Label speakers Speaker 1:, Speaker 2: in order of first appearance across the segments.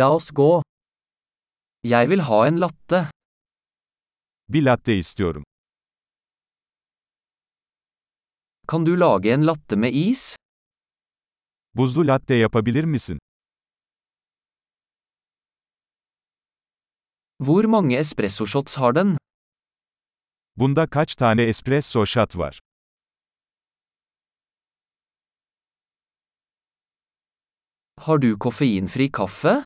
Speaker 1: La oss gå. Jeg vil ha en latte.
Speaker 2: Bir latte istiyorum.
Speaker 1: Kan du lage en latte med is?
Speaker 2: Buzlu latte yapabilir misin?
Speaker 1: Hvor mange espressoshots har den?
Speaker 2: Bunda kaç tane espresso shot var?
Speaker 1: Har du koffeinfri kaffe?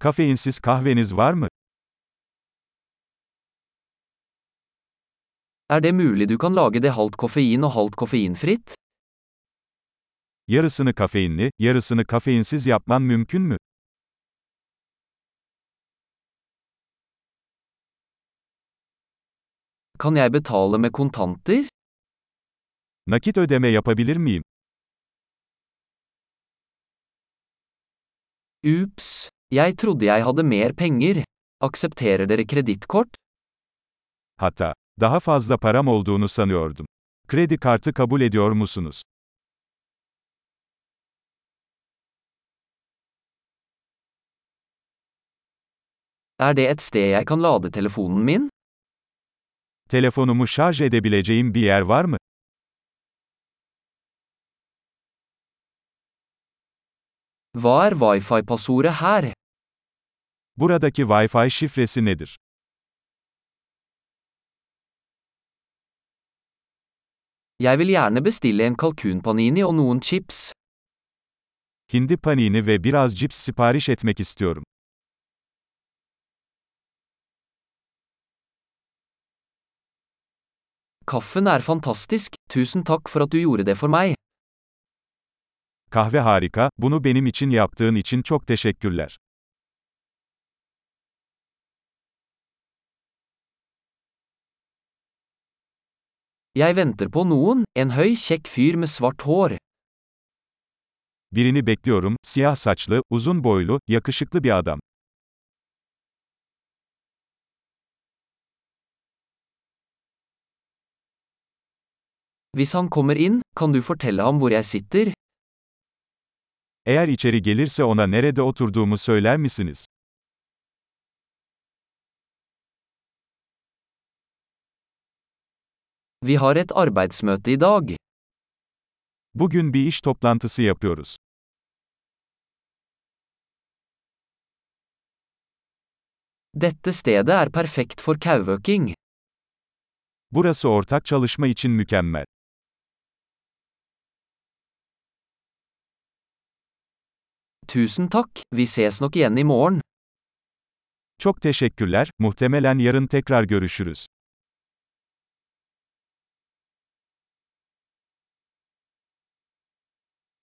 Speaker 2: Kafeinsiz kahveniz var mı?
Speaker 1: Er det mulig du kan lage det halvt koffein og halvt koffeinfritt?
Speaker 2: Yarısını kafeinli, yarısını kafeinsiz yapman mümkün mü?
Speaker 1: Kan jeg betale med kontanter?
Speaker 2: Nakit ödeme yapabilir miyim?
Speaker 1: Ups. Jeg trodde jeg hadde mer penger. Aksepterer dere kredittkort?
Speaker 2: Hatta, daha fazla param olduğunu sanıyordum. Kredi kartı kabul ediyor musunuz?
Speaker 1: Er det et sted jeg kan lade telefonen min?
Speaker 2: Telefonumu şarj edebileceğim bir yer var mı?
Speaker 1: Hva er wifi-passordet her?
Speaker 2: Buradaki Wi-Fi şifresi nedir?
Speaker 1: Jeg vil gjerne bestille en kalkunpanini og noen chips.
Speaker 2: Hindi panini ve biraz cips sipariş etmek istiyorum.
Speaker 1: Kaffen er fantastisk, tusen takk for at du gjorde det for meg.
Speaker 2: Kahve harika, bunu benim için yaptığın için çok teşekkürler.
Speaker 1: Jeg venter på noen, en høy, kjekk fyr med svart hår.
Speaker 2: Birini bekliyorum, siyah saçlı, uzun boylu, yakışıklı bir adam.
Speaker 1: Hvis han kommer inn, kan du fortelle ham hvor jeg sitter?
Speaker 2: Eğer içeri gelirse ona nerede oturduğumu söyler misiniz?
Speaker 1: Vi har et arbeidsmøte i dag.
Speaker 2: Bugün bir iş toplantısı yapıyoruz.
Speaker 1: Dette stedet er perfekt for kauøking.
Speaker 2: Burası ortak çalışma için mükemmel.
Speaker 1: Tusen takk, vi ses nok igjen i morgen.
Speaker 2: Çok teşekkürler, muhtemelen yarın tekrar görüşürüz.